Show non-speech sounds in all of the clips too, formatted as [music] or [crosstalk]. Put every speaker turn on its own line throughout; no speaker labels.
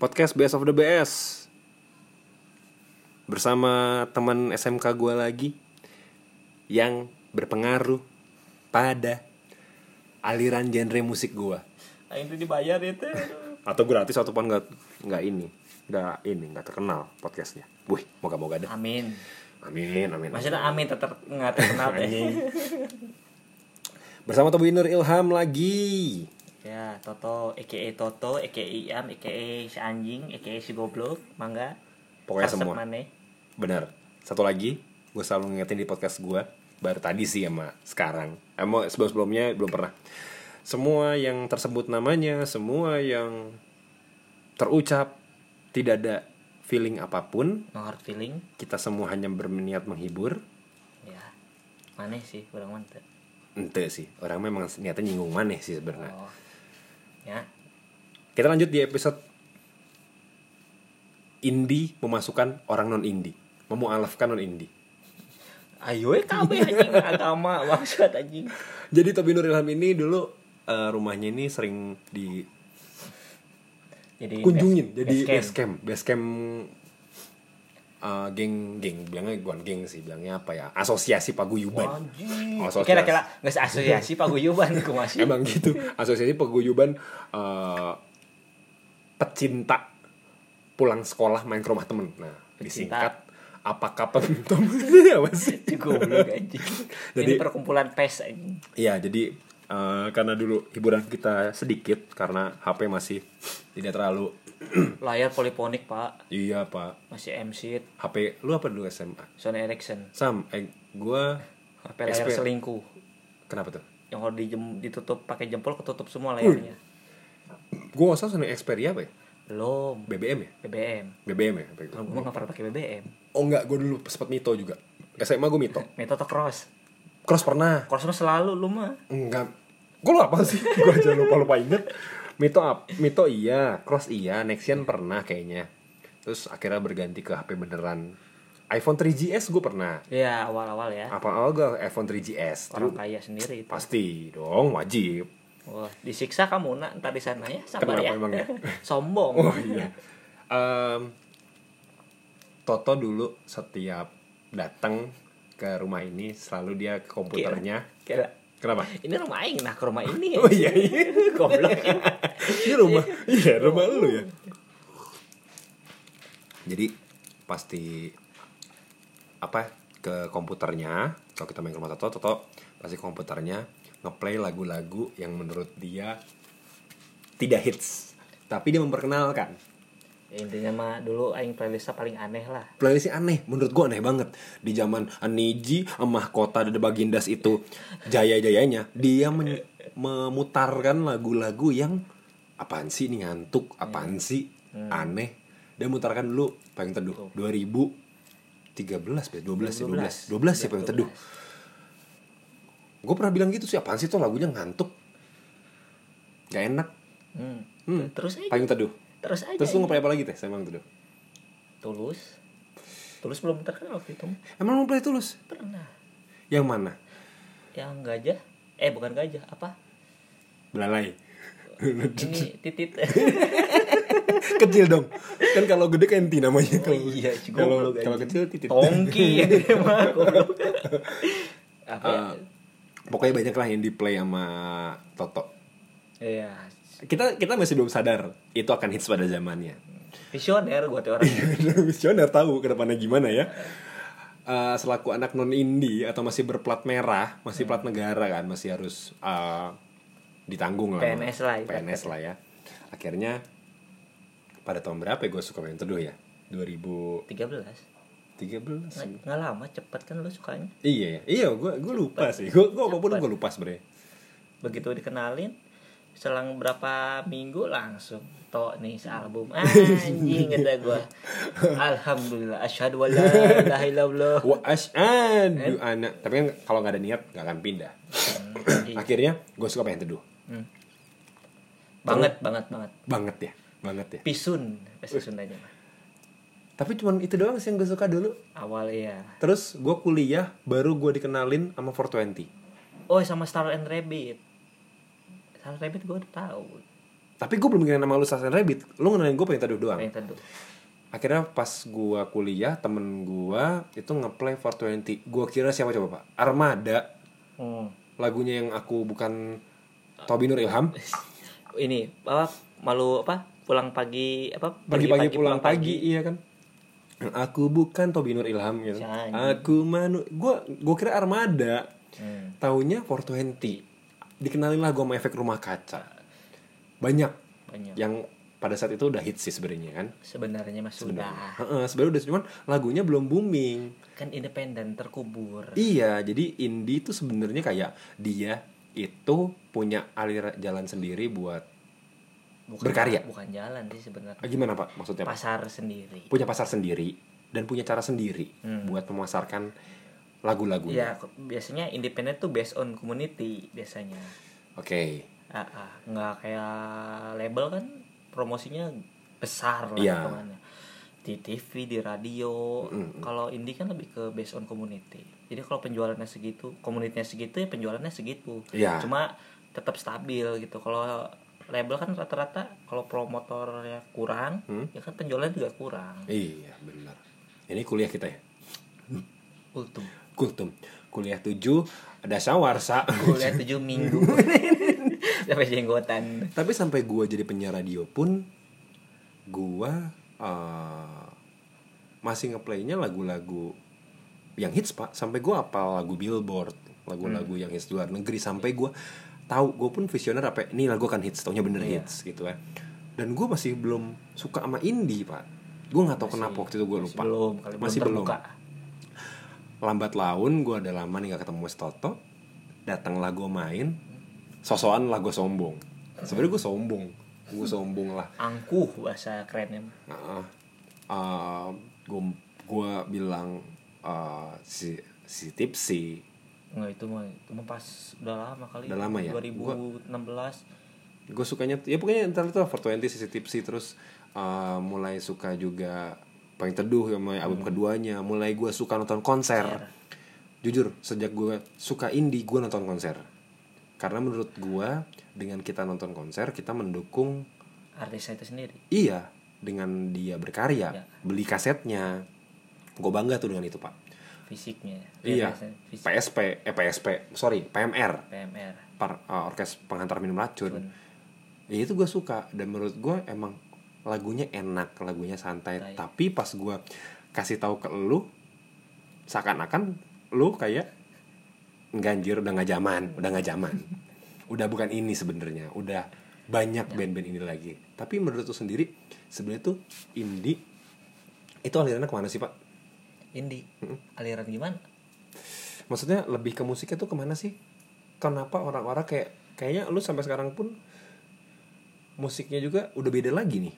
Podcast Best of the BS Bersama teman SMK gue lagi Yang berpengaruh pada aliran genre musik gue
Aing tuh dibayar ya itu.
Atau gratis ataupun nggak nggak ini nggak ini nggak terkenal podcastnya Wih moga-moga ada
Amin.
Amin amin
Maksudnya amin ya. tetap nggak terkenal deh.
Bersama Tobi Nur Ilham lagi
ya, Toto, EKE Toto, EKE Iam, EKE si anjing, EKE si goblok, mangga.
Pokoknya
Kaset
semua.
Mana.
Bener. Satu lagi, gue selalu ngingetin di podcast gue. Baru tadi sih sama sekarang. Emang sebelum-sebelumnya belum pernah. Semua yang tersebut namanya, semua yang terucap, tidak ada feeling apapun.
No hard feeling.
Kita semua hanya berniat menghibur.
Ya. Mana sih kurang mantep.
Ente sih, orang memang niatnya nyinggung maneh sih sebenarnya.
Oh. Ya.
Kita lanjut di episode indie memasukkan orang non indie, memualafkan non indie. ya,
Ayo kabeh ya, anjing agama maksud anjing.
Jadi Tobi Nur Ilham ini dulu eh, rumahnya ini sering di
Jadi
kunjungin
Iya, base-
jadi
base
base
camp.
camp base camp uh, geng geng bilangnya bukan geng sih bilangnya apa ya asosiasi paguyuban
Anjing.
Oh, sosial.
Kira-kira nggak asosiasi paguyuban kumasih.
emang gitu asosiasi paguyuban uh, pecinta pulang sekolah main ke rumah temen nah disingkat apakah pentom [laughs] apa sih
Goblok anjing. Jadi
Jadi-
perkumpulan pes anjing.
Iya, jadi eh, karena dulu hiburan kita sedikit karena HP masih tidak terlalu
Layar poliponik, Pak.
iya pak
Masih MC
HP lu apa dulu SMA
Sony Ericsson.
Sam eh, gua
HP
SP.
layar selingkuh.
kenapa tuh
Yang kalau dijem- ditutup pakai jempol ketutup semua layarnya.
Gue usah Sony Xperia apa ya?
Belum.
BBM ya?
BBM.
BBM ya?
Kalau gue nggak pernah pakai BBM.
Oh enggak, gue dulu sempat Mito juga SMA gue Mito
Metode cross.
Cross pernah
Cross mah selalu lu mah.
Enggak Gue lupa sih, [laughs] gue aja lupa-lupa inget Mito, ap- Mito iya, Cross iya, Nexian pernah kayaknya Terus akhirnya berganti ke HP beneran iPhone 3GS gue pernah
Iya, awal-awal ya.
Apa awal gue iPhone 3GS Terus
Orang kaya sendiri itu.
Pasti dong, wajib
Wah, disiksa kamu nak entar di sana ya, sabar
Kenapa
ya.
emang ya?
[laughs] Sombong.
Oh iya. Em, Toto dulu setiap datang ke rumah ini selalu dia ke komputernya.
Kira.
Kenapa?
Ini rumah aing nah ke rumah
[laughs]
ini.
Oh iya iya.
Goblok. [laughs]
Ini rumah. Iya, rumah lu ya. Jadi pasti apa ke komputernya kalau kita main ke rumah Toto, Toto pasti ke komputernya ngeplay lagu-lagu yang menurut dia tidak hits, tapi dia memperkenalkan.
Ya, intinya mah dulu aing playlistnya paling aneh lah.
playlistnya aneh menurut gue aneh banget di zaman Niji Emah Kota dan Bagindas itu jaya jayanya dia men- memutarkan lagu-lagu yang apaan sih ini ngantuk apaan sih aneh dia mutarkan dulu paling teduh 2013 ya 12 ya 12 12 ya paling teduh gue pernah bilang gitu sih apaan sih tuh lagunya ngantuk gak enak
Hmm.
Hmm.
Terus aja.
paling teduh
Terus aja.
terus lu ngeplay apa lagi teh saya paling teduh
Tulus. Tulus belum terkenal waktu itu.
emang lu play tulus
Pernah.
yang mana
Yang gajah. Eh bukan gajah, apa?
belalai
Ini
[laughs]
titit.
kecil dong kan kalau gede kenti namanya
Oh iya, juga
kalau
goblok,
kalau
anjing.
kecil titik [laughs]
Tongki ya mah goblok. Apa?
Ah.
ya?
Eh, pokoknya banyak lah yang di play sama Toto
Iya.
kita kita masih belum sadar itu akan hits pada zamannya [laughs]
Visioner gua tuh orang.
visioner tahu ke depannya gimana ya Eh, selaku anak non indie atau masih berplat merah masih plat negara kan masih harus eh, ditanggung lah
PNS lah, ibaratnya.
PNS lah ya akhirnya pada tahun berapa ya gue suka main teduh ya 2013
13. Nggak, nggak lama cepet kan lu sukanya
Iya, iya, gue gue lupa sih. Gue gue apapun gue lupa sebenarnya.
begitu dikenalin selang berapa minggu langsung tok nih sealbum anjing kata
[laughs]
gua alhamdulillah asyhadu alla ilaha illallah
Wah, asyhadu anak. Tapi kan kalau nggak ada niat nggak akan pindah.
Iya.
Akhirnya gue suka pengen teduh.
banget banget banget
Banget ya, banget ya.
pisun bahasa Sundanya mah
Tapi cuman itu doang sih yang gue suka dulu.
awal iya
Terus gue kuliah baru gue dikenalin sama 420.
oh sama Star and Rabbit Star and Rabbit gua udah tahu
Tapi gue belum mikirin nama lu Sasen Rabbit. Lu ngenalin gue pengen teduh doang.
Pengen teduh.
Akhirnya pas gua kuliah, temen gua itu ngeplay 420. Gua kira siapa coba, Pak? Armada.
Hmm. [laughs]
Lagunya yang aku bukan Tobi Nur Ilham.
Ini apa malu apa pulang pagi apa
Pagi-pagi pulang pagi, iya kan? Aku bukan Tobi Nur Ilham gitu.
Si anjing.
Aku manu gua gua kira Armada.
Hmm.
Taunya 420. Dikenalin lah gua sama efek rumah kaca. Banyak
Banyak.
yang pada saat itu udah hits sih sebenarnya kan.
Sebenarnya mas sudah
Heeh, sebenarnya udah cuman lagunya belum booming.
kan independen terkubur.
Iya, jadi indie itu sebenarnya kayak dia itu punya aliran jalan sendiri buat Berkarya.
Bukan jalan sih sebenarnya.
eh, gimana Pak maksudnya? Pak?
Pasar sendiri.
Punya pasar sendiri dan punya cara sendiri buat memasarkan lagu-lagunya.
Ya biasanya independen tuh based on community biasanya.
Oke.
Ah, ah. nggak kayak label kan promosinya besar lah
Iya.
hitungannya. di TV di radio kalau indie kan lebih ke based on community jadi kalau penjualannya segitu komunitasnya segitu ya penjualannya segitu
Iya.
cuma tetap stabil gitu kalau label kan rata-rata kalau promotornya kurang
Hmm?
ya kan penjualan juga kurang
Iya, benar. Ini kuliah kita ya.
ultum
Kultum. Kuliah 7 ada syawarsa.
kuliah
[laughs]
tujuh minggu sampai jenggotan
Tapi sampai gua jadi penyiar radio pun gua eh, masih ngeplaynya lagu-lagu yang hits pak sampai gua apal lagu Billboard
Hmm.
lagu-lagu yang hits di luar negeri sampai gua tahu gue pun visioner apa ini lagu akan hits taunya bener
Iya.
hits gitu ya dan gua masih belum suka sama indie pak gua nggak tahu kenapa waktu itu gue lupa
belum kali
masih belum
terbuka.
lambat laun gua ada lama nih gak ketemu Stoto datanglah gue main sosokan lah gue sombong sebenarnya gue sombong gue sombong lah
angkuh bahasa kerennya
gue gue Ah, bilang eh, si si tipsi
Enggak itu mah itu mah pas udah lama kali.
Udah lama ya?
2016.
gue sukanya ya pokoknya ntar itu 420 sisi tipsi terus eh, mulai suka juga paling teduh sama album keduanya mulai gue suka nonton Hmm. konser jujur sejak gue suka indie gue nonton konser karena menurut gue dengan kita nonton konser kita mendukung
Artisnya itu sendiri.
Iya, dengan dia berkarya,
Ya.
beli kasetnya. Gue bangga tuh dengan itu, Pak.
Fisiknya.
Iya.
Realisasi Fisik
PSP, eh PSP, sorry, PMR,
PMR.
Par, eh, Orkes Penghantar Minum Racun. Ya, itu gue suka dan menurut gue emang lagunya enak, lagunya santai.
Santai.
Tapi pas gue kasih tahu ke lu, seakan-akan lu kayak ganjir udah nggak zaman, udah nggak zaman. udah bukan ini sebenarnya, udah banyak band-band ini lagi. Tapi menurut lu sendiri sebenarnya tuh indie itu alirannya kemana sih pak?
Indie. Aliran gimana?
Maksudnya lebih ke musiknya tuh kemana sih? Kenapa orang-orang kayak kayaknya lu sampai sekarang pun musiknya juga udah beda lagi nih.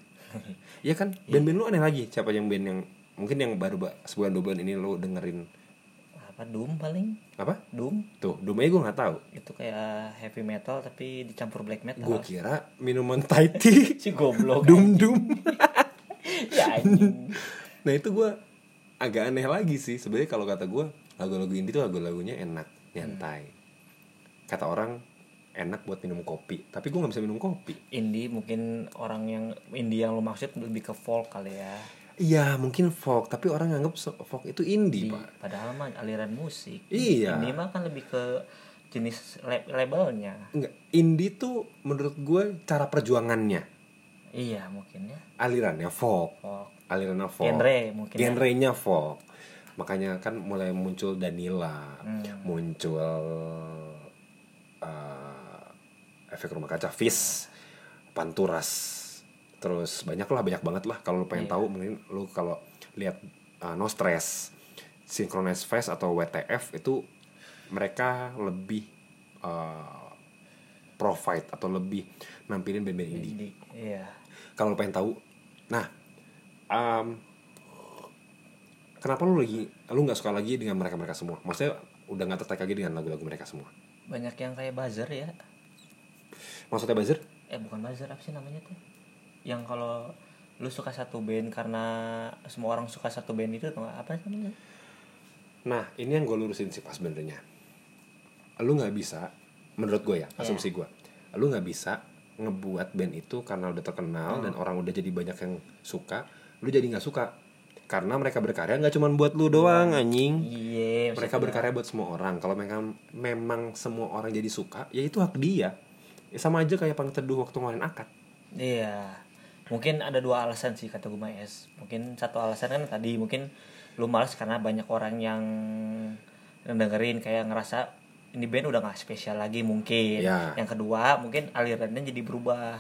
Iya kan? Band-band lu aneh lagi. Siapa yang band yang mungkin yang baru ba- sebulan dua bulan ini lu dengerin
Apa Doom paling?
apa?
Doom
Tuh, domainnya gue nggak tahu.
itu kayak heavy metal tapi dicampur black
Gue
metal.
kira minuman Thai
[laughs]
tea,
Si goblok.
dum dum.
ya anjing.
nah itu gue agak aneh lagi sih sebenarnya kalau kata gue lagu-lagu indie tuh lagu-lagunya enak nyantai kata orang enak buat minum kopi tapi gue nggak bisa minum kopi
Indie mungkin orang yang indie yang lo maksud lebih ke folk kali ya.
iya mungkin folk tapi orang nganggap so- folk itu indie
Di-
pak
padahal mah aliran musik.
Iya.
Indie mah kan lebih ke jenis lab- labelnya.
Enggak, indie tuh menurut gue cara perjuangannya
Iya mungkin ya.
alirannya folk
Folk.
alirannya folk
Genre mungkin ya.
genrenya folk makanya kan mulai muncul Danila
Hmm.
muncul eh, efek rumah kaca Fis Panturas terus banyak lah banyak banget lah kalau lu
Iya.
pengen tahu mending lu kalau lihat eh, No Stress Synchronized Fest atau WTF itu mereka lebih eh, provide atau lebih nampilin band-band indie
Jadi, iya.
kalau lo pengen tahu nah em, kenapa lu lagi lu nggak suka lagi dengan mereka mereka semua maksudnya udah nggak tertarik lagi dengan lagu-lagu mereka semua
Banyak yang kayak buzzer ya.
maksudnya buzzer
Eh bukan buzzer apa sih namanya tuh? Yang kalau lu suka satu band karena semua orang suka satu band itu tau nggak? apa namanya?
nah ini yang gue lurusin sih pas benernya lu nggak bisa menurut gue ya asumsi gue lu nggak bisa ngebuat band itu karena udah terkenal dan orang udah jadi banyak yang suka lu jadi nggak suka karena mereka berkarya nggak cuma buat lu doang anjing
Iya, maksud
mereka
gua.
berkarya buat semua orang kalau mereka memang semua orang jadi suka ya itu hak dia Ya, sama aja kayak pang teduh waktu ngelain akad
Iya. Mungkin ada dua alasan sih kata gue Maes. Mungkin satu alasan kan tadi mungkin lu males karena banyak orang yang dengerin kayak ngerasa ini band udah gak spesial lagi mungkin.
Iya.
Yang kedua mungkin alirannya jadi berubah.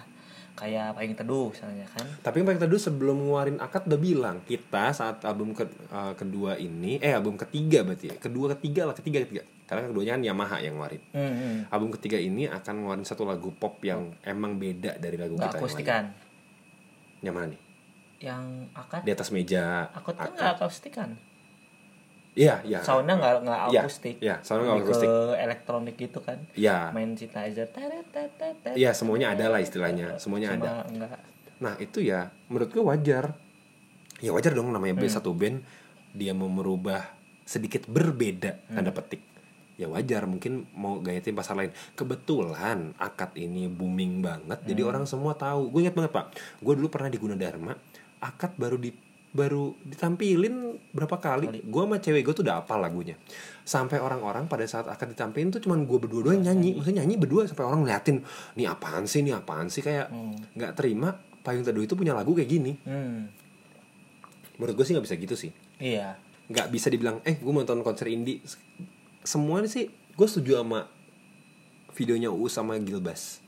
Kayak paling teduh misalnya kan.
Tapi mereka dulu sebelum ngeluarin akad udah bilang kita saat album ke- eh, kedua ini eh album ketiga berarti ya. kedua ketiga lah ketiga ketiga karena keduanya kan Yamaha yang ngeluarin
Hmm, hmm.
album ketiga ini akan ngeluarin satu lagu pop yang emang beda dari lagu kita yang
Nggak
lain.
akustikan.
Yang mana nih?
Yang akad
Di atas meja.
aku tuh
Akad.
kan nggak akustikan.
Iya iya.
Soundnya nggak nggak
Iya,
akustik.
iya, soundnya nggak
Lebih
akustik.
Ke elektronik gitu kan.
Iya.
Main synthesizer. Taret, taret, taret, taret.
Iya semuanya ada lah istilahnya semuanya
Cuma
ada.
nggak-
Nah itu ya menurut gue wajar Ya wajar dong namanya band satu band Dia mau merubah sedikit berbeda tanda petik Ya wajar mungkin mau gayatin pasar lain Kebetulan akad ini booming banget Jadi orang semua tahu Gue ingat banget pak Gue dulu pernah di Gunadarma Akad baru di baru ditampilin berapa kali, gue sama cewek gue tuh udah apa lagunya sampai orang-orang pada saat akan ditampilin tuh cuman gue berdua doang Iya, nyanyi maksudnya nyanyi berdua sampai orang ngeliatin nih apaan sih nih apaan sih kayak nggak terima payung teduh itu punya lagu kayak gini
Hmm.
menurut gue sih nggak bisa gitu sih
Iya.
nggak bisa dibilang eh gue mau nonton konser indie S- semuanya sih gue setuju sama videonya Uus sama Gilbas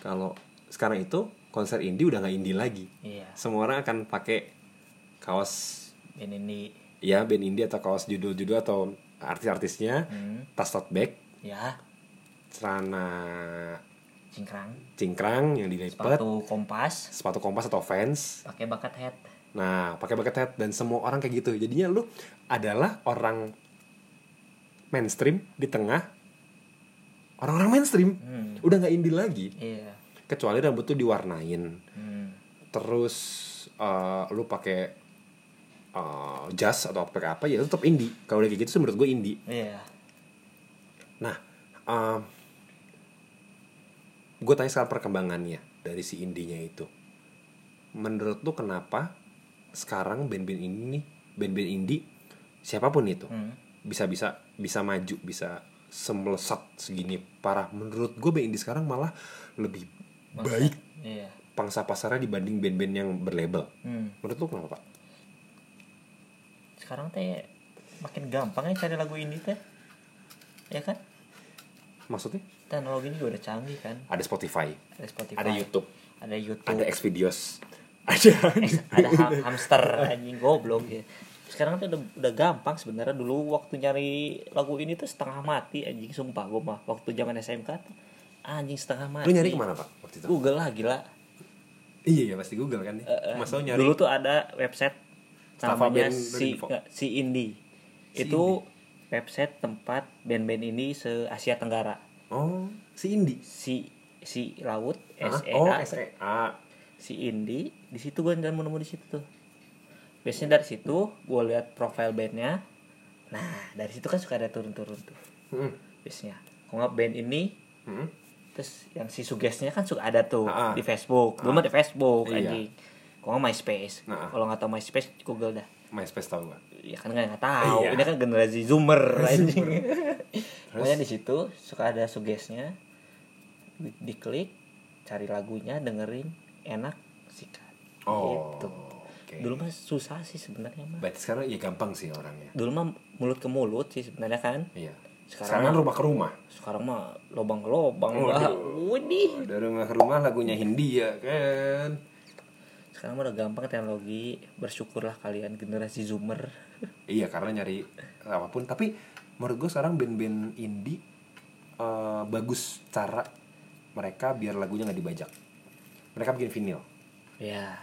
kalau sekarang itu konser indie udah nggak indie lagi
Iya.
semua orang akan pakai kaos
Ini ini.
ya band indie atau kaos judul-judul atau artis-artisnya
Hmm.
tas tote bag
Ya.
celana
Cingkrang.
cingkrang yang dilipat sepatu,
Sepatu kompas.
kompas atau fans
Pakai bucket hat.
nah pakai bucket hat dan semua orang kayak gitu jadinya lu adalah orang mainstream di tengah orang-orang mainstream
Hmm.
udah nggak indie lagi
Iya.
kecuali rambut tuh diwarnain
Hmm.
terus eh, lu pakai eh, jas atau pakai apa ya tetap indie kalau udah kayak gitu sih menurut gue indie
Iya.
Nah, um, gue tanya sekarang perkembangannya dari si indinya itu. Menurut lu kenapa sekarang band-band ini nih, band-band indie siapapun itu
Hmm.
bisa-bisa bisa maju, bisa semelesat segini parah. Menurut gue band indie sekarang malah lebih baik
Iya.
pangsa pasarnya dibanding band-band yang berlabel.
Hmm.
Menurut lu kenapa, Pak?
Sekarang teh makin gampang ya cari lagu ini teh. Ya kan?
Maksudnya
Teknologi juga udah canggih kan.
ada Spotify,
Ada Spotify.
ada YouTube,
Ada YouTube.
ada Xvideos, [laughs] ada
[laughs] ada ham- hamster anjing goblok ya sekarang tuh udah, udah gampang sebenarnya dulu waktu nyari lagu ini tuh setengah mati anjing sumpah gue mah waktu zaman SMK tuh anjing setengah
Lu
mati
nyari kemana, Pak? Waktu itu?
Google lah gila
Iya ya pasti Google kan ya.
Eh,
Mas lo nyari
dulu tuh ada website
Staffa
namanya
Band
si
Info.
nggak, si Indie itu website tempat band-band ini se Asia Tenggara
Oh, si Indi.
si si laut E
Hah?
SEA
Oh, SEA.
si Indi di situ gue nemu nemu di situ tuh biasanya dari situ gue lihat profile bandnya nah dari situ kan suka ada turun-turun tuh
Hmm.
biasanya kalau nggak band ini
Hmm.
terus yang si sugestinya kan suka ada tuh
Ah, ah.
di Facebook dulu mah di Facebook
Iya.
anjing kalau nggak MySpace
Nah, ah.
kalau nggak tahu MySpace Google dah
MySpace tau gak?
ya kan nggak nggak tahu
Iya.
ini kan generasi zoomer anjing
[laughs]
pokoknya di situ suka ada sugesnya di- diklik cari lagunya dengerin enak sikat
Oh,
Gitu.
oke.
dulu mah susah sih sebenarnya mah
Berarti sekarang ya gampang sih orangnya.
dulu mah mulut ke mulut sih sebenarnya kan
Iya.
Sekarang-
Sekarang, kan rumah ke rumah.
sekarang mah lobang ke lobang lah
Waduh.
Widih.
Dari rumah ke rumah lagunya Hindia kan.
sekarang mah udah gampang teknologi bersyukurlah kalian generasi zoomer [laughs]
Iya karena nyari apapun. Tapi menurut gue sekarang band-band indie eh, bagus cara mereka biar lagunya nggak dibajak. Mereka bikin vinyl.
ya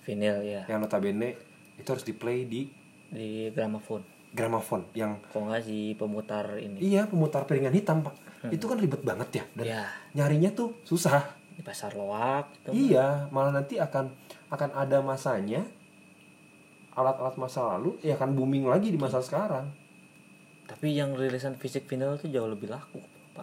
vinyl ya
Yang notabene itu harus di play di
di gramophone
gramafon yang
kok nggak si pemutar ini
Iya, pemutar piringan hitam, Pak. Itu kan ribet banget ya. Dan
Iya.
nyarinya tuh susah.
di pasar loak gitu
Iya, malah nanti akan akan ada masanya alat-alat masa lalu ya akan booming lagi di masa sekarang.
tapi yang rilisan fisik vinyl tuh jauh lebih laku pak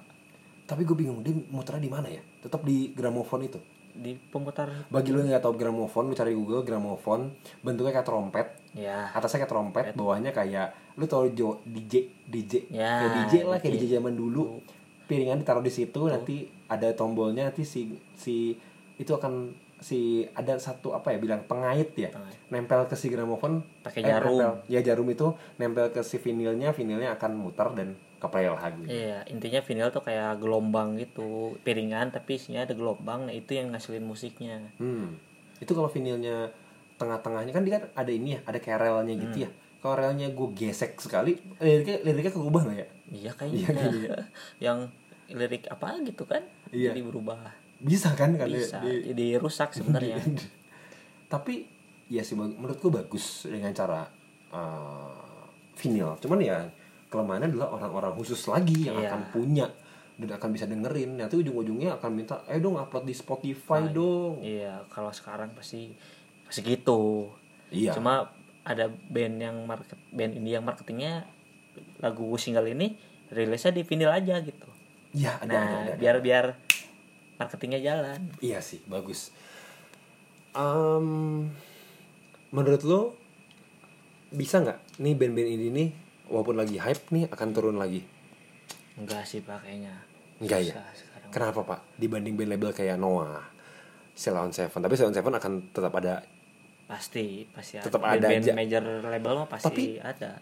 tapi gue bingung dia muternya di mana ya tetap di gramofon itu
di pemutar
bagi lo yang nggak tahu gramofon lo cari Google gramofon bentuknya kayak trompet
ya
atasnya kayak trompet bawahnya kayak lu tau jo, DJ DJ
Ya,
kayak DJ lah kayak DJ zaman dulu piringan ditaruh di situ nanti ada tombolnya nanti si si itu akan si ada satu apa ya bilang pengait ya
Pengait.
nempel ke si gramofon
Pakai
eh,
jarum.
nempel. ya jarum itu nempel ke si vinilnya vinilnya akan muter dan keplay lagi
Iya, intinya vinyl tuh kayak gelombang gitu, piringan tapi isinya ada gelombang, nah itu yang ngasilin musiknya.
Hmm. Itu kalau vinilnya tengah-tengahnya kan dia kan ada ini ya, ada kayak relnya
Hmm.
gitu ya. Kalau relnya gue gesek sekali, liriknya liriknya keubah nggak ya?
Iya
Iya,
kayaknya.
kayaknya.
[laughs] yang lirik apa gitu kan?
Iya.
Jadi berubah.
Bisa kan kan dia-
Bisa.
dia-
Jadi rusak sebenarnya.
[laughs] Tapi ya sih bag- menurut gue bagus dengan cara eh, vinyl. Cuman ya kelemahannya adalah orang-orang khusus lagi yang
Iya.
akan punya dan akan bisa dengerin. Nanti ujung-ujungnya akan minta, eh dong upload di Spotify dong.
iya, kalau sekarang pasti pasti gitu.
Iya.
Cuma ada band yang market band indie yang marketingnya lagu single ini rilisnya di vinyl aja gitu.
Iya ada,
nah,
ada, ada, ada.
biar biar marketingnya jalan.
Iya sih, bagus. Em, menurut lo bisa nggak nih band-band ini nih walaupun lagi hype nih akan turun lagi?
Enggak sih pak kayaknya.
Enggak ya?
Susah sekarang.
Kenapa pak? Dibanding band label kayak Noah, Ceylon Seven, tapi Ceylon Seven akan tetap ada.
Pasti pasti
Tetap ada
ada. Band,
aja.
major label mah pasti
Tapi-
ada.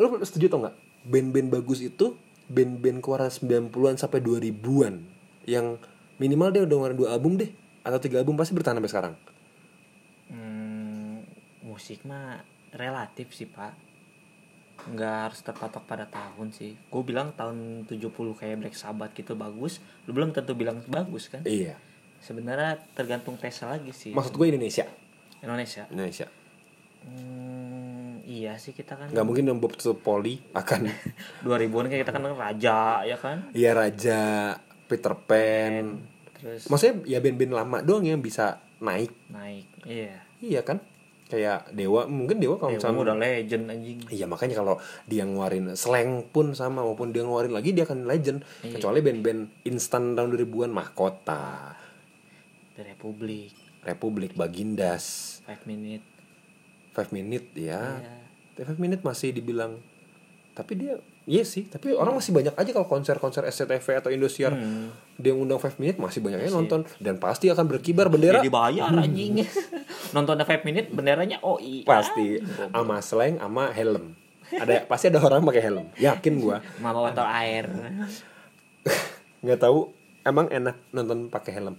Lo setuju tau nggak? Band-band bagus itu band-band keluaran 90-an sampai 2000-an yang minimal dia udah ngeluarin dua album deh atau tiga album pasti bertahan sampai sekarang.
Hmm, musik mah relatif sih pak nggak harus terpatok pada tahun sih gue bilang tahun 70 kayak Black Sabbath gitu bagus lu belum tentu bilang bagus kan
Iya.
sebenarnya tergantung tesnya lagi sih
Maksud gue Indonesia.
Indonesia
Indonesia.
Hmm, iya sih kita kan
Nggak mungkin dong Bob Poli [laughs] akan
2000-an kayak kita kan raja ya kan
Iya Raja, Peter Pan.
terus
Maksudnya ya band-band lama doang yang bisa naik.
naik iya
Iya kan? Kayak Dewa, mungkin Dewa kalau
ya,
Oh, misalnya
udah legend anjing
Iya makanya kalau dia ngeluarin slang pun sama maupun dia ngeluarin lagi dia akan legend. Kecuali band-band instan tahun 2000-an Mahkota,
The Republic
Republik, Bagindas,
Five Minute
Five Minute ya.
Iya.
Five Minute masih dibilang tapi dia iya sih, tapi orang masih banyak aja kalau konser-konser SCTV atau Indosiar
Hmm.
dia ngundang Five Minute masih banyak yang nonton dan pasti akan berkibar bendera
jadi bayar ya anjing [laughs] nonton Five Minute benderanya OI
pasti ama slang ama helm ada pasti ada orang pakai helm yakin gua
Mama botol air.
nggak tahu emang enak nonton pakai helm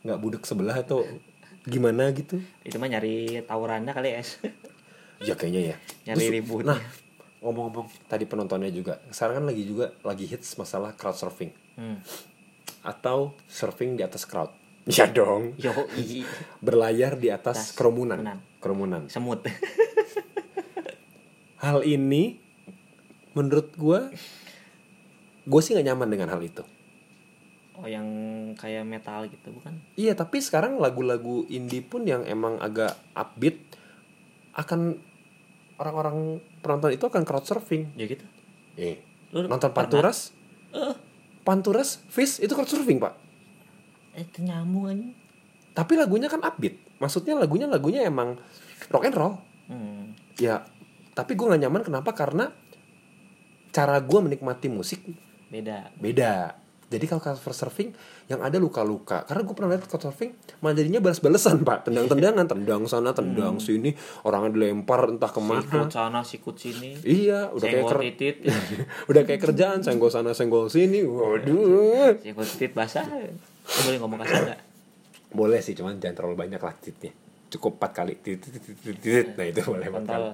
nggak budek sebelah atau gimana gitu
Itu mah nyari tawurannya kali es.
ya kayaknya ya
Nyari ribut. ya.
nah ngomong-ngomong tadi penontonnya juga sekarang kan lagi juga lagi hits masalah crowd surfing
Hmm.
atau surfing di atas crowd ya dong
Yo i
berlayar di atas
Atas
kerumunan kerumunan
kerumunan. semut.
hal ini menurut gua gue sih nggak nyaman dengan hal itu
Oh yang kayak metal gitu bukan?
Iya tapi sekarang lagu-lagu indie pun yang emang agak upbeat akan orang-orang penonton itu akan crowd surfing.
Ya gitu.
Eh.
Lu
Nonton
pernah?
Panturas? Panturas, Fish itu crowd surfing pak.
Eh itu nyamuk anjing.
Tapi lagunya kan upbeat. Maksudnya lagunya lagunya emang rock and roll.
Hmm.
Ya tapi gue gak nyaman kenapa karena cara gue menikmati musik
Beda.
beda. Jadi kalau crowd surfing yang ada luka-luka. Karena gue pernah lihat crowd surfing malah jadinya balas-balesan pak, tendang-tendangan, tendang sana, tendang sini, orang dilempar entah kemana.
Sikut sana, sikut sini.
Iya, udah kayak
Senggol
ker-
titit.
[laughs] udah kayak kerjaan, senggol sana, senggol sini. Waduh.
Sikut titit basah. Lu Boleh ngomong kasar enggak?
Boleh sih, cuman jangan terlalu banyak lah tititnya. Cukup empat kali titit, titit, titit, titit. Nah itu boleh empat kali.
Kontol.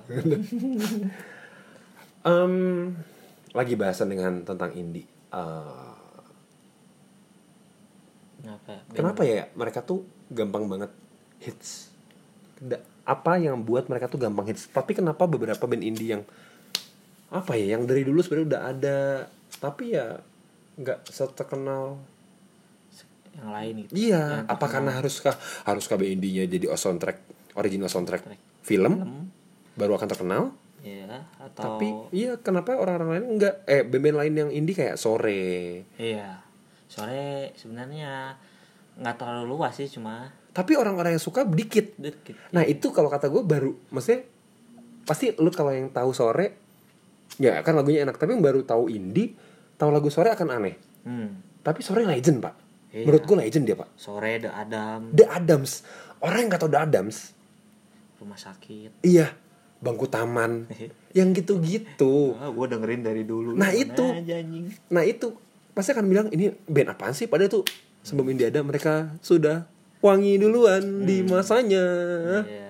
Em, lagi bahasan dengan tentang indie. Eh,
Kenapa?
Kenapa ya mereka tuh gampang banget hits? Da- Apa yang buat mereka tuh gampang hits? Tapi kenapa beberapa band indie yang apa ya yang dari dulu sebenarnya udah ada tapi ya nggak seterkenal
Yang lain gitu.
iya apa karena haruskah haruskah band indie-nya jadi oh, soundtrack original soundtrack
Track.
film baru akan terkenal
Iya, Hmm. atau
tapi iya kenapa orang-orang lain nggak eh band-band lain yang indie kayak sore
iya. sore sebenarnya nggak terlalu luas sih cuma
Tapi orang-orang yang suka dikit.
dikit
Nah itu kalau kata gue baru Maksudnya Pasti lu kalau yang tahu sore Ya kan lagunya enak Tapi yang baru tahu indie tahu lagu sore akan aneh
hmm.
Tapi sore legend pak
Iya.
Menurut gue legend dia pak
sore The Adam
The Adams Orang yang gak tau The Adams
rumah sakit
Iya Bangku taman Yang gitu-gitu
ah, gue dengerin dari dulu
Nah,
Mana
itu.
aja, anjing.
Nah itu Pasti akan bilang ini band apaan sih Padahal tuh Sebelum indie ada mereka sudah Wangi duluan di masanya
Iya.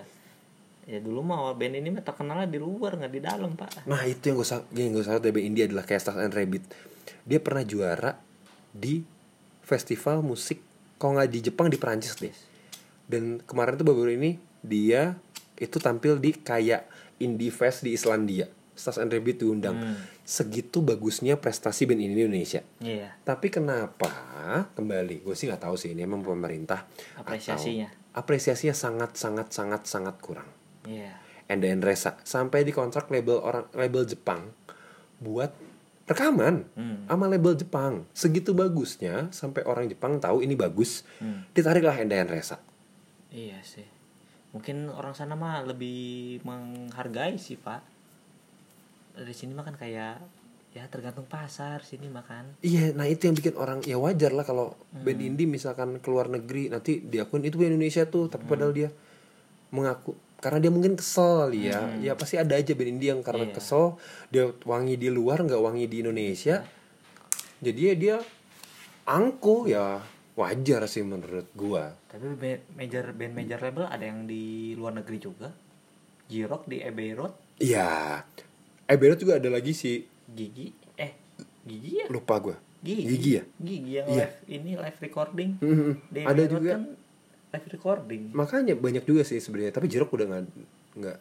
ya dulu mah band ini mah terkenalnya di luar nggak di dalam pak
Nah itu yang gue sa- yang gue salut dari band India adalah Kayak Stars and Rabbit. Dia pernah juara di festival musik kalau nggak di Jepang di Perancis deh. Dan kemarin tuh baru ini dia itu tampil di kayak Indie Fest di Islandia. Stars and Rabbit diundang. Segitu bagusnya prestasi band ini di Indonesia.
iya
Tapi kenapa kembali? Gue sih nggak tahu sih ini emang pemerintah atau-
Apresiasinya.
apresiasinya sangat sangat sangat sangat kurang.
iya
Enda Endresa sampai dikontrak label orang label Jepang buat rekaman sama label Jepang segitu bagusnya sampai orang Jepang tahu ini bagus ditariklah Enda Endresa
Hmm. iya sih mungkin orang sana mah lebih menghargai sih pak dari sini mah kan kayak ya tergantung pasar sini mah kan
iya nah itu yang bikin orang ya wajar lah kalau
Hmm.
band indie misalkan keluar negeri nanti diakuin itu band Indonesia tuh
Hmm.
tapi padahal dia mengaku karena dia mungkin kesel kali ya ya pasti ada aja band indie yang karena
Hmm. Iya.
kesel dia wangi di luar nggak wangi di Indonesia jadi ya dia angku ya wajar sih menurut gua
tapi band major band major label ada yang di luar negeri juga Jirok di Abbey Road
Iya. Eh beda juga ada lagi si
Gigi eh Gigi ya
lupa gue.
Gigi,
Gigi ya.
Gigi yang
Iya.
live ini live recording
Mhm.
Di
Ada
Abbey Road
juga.
kan live recording
Makanya banyak juga sih sebenarnya. Tapi Jeruk udah nggak nggak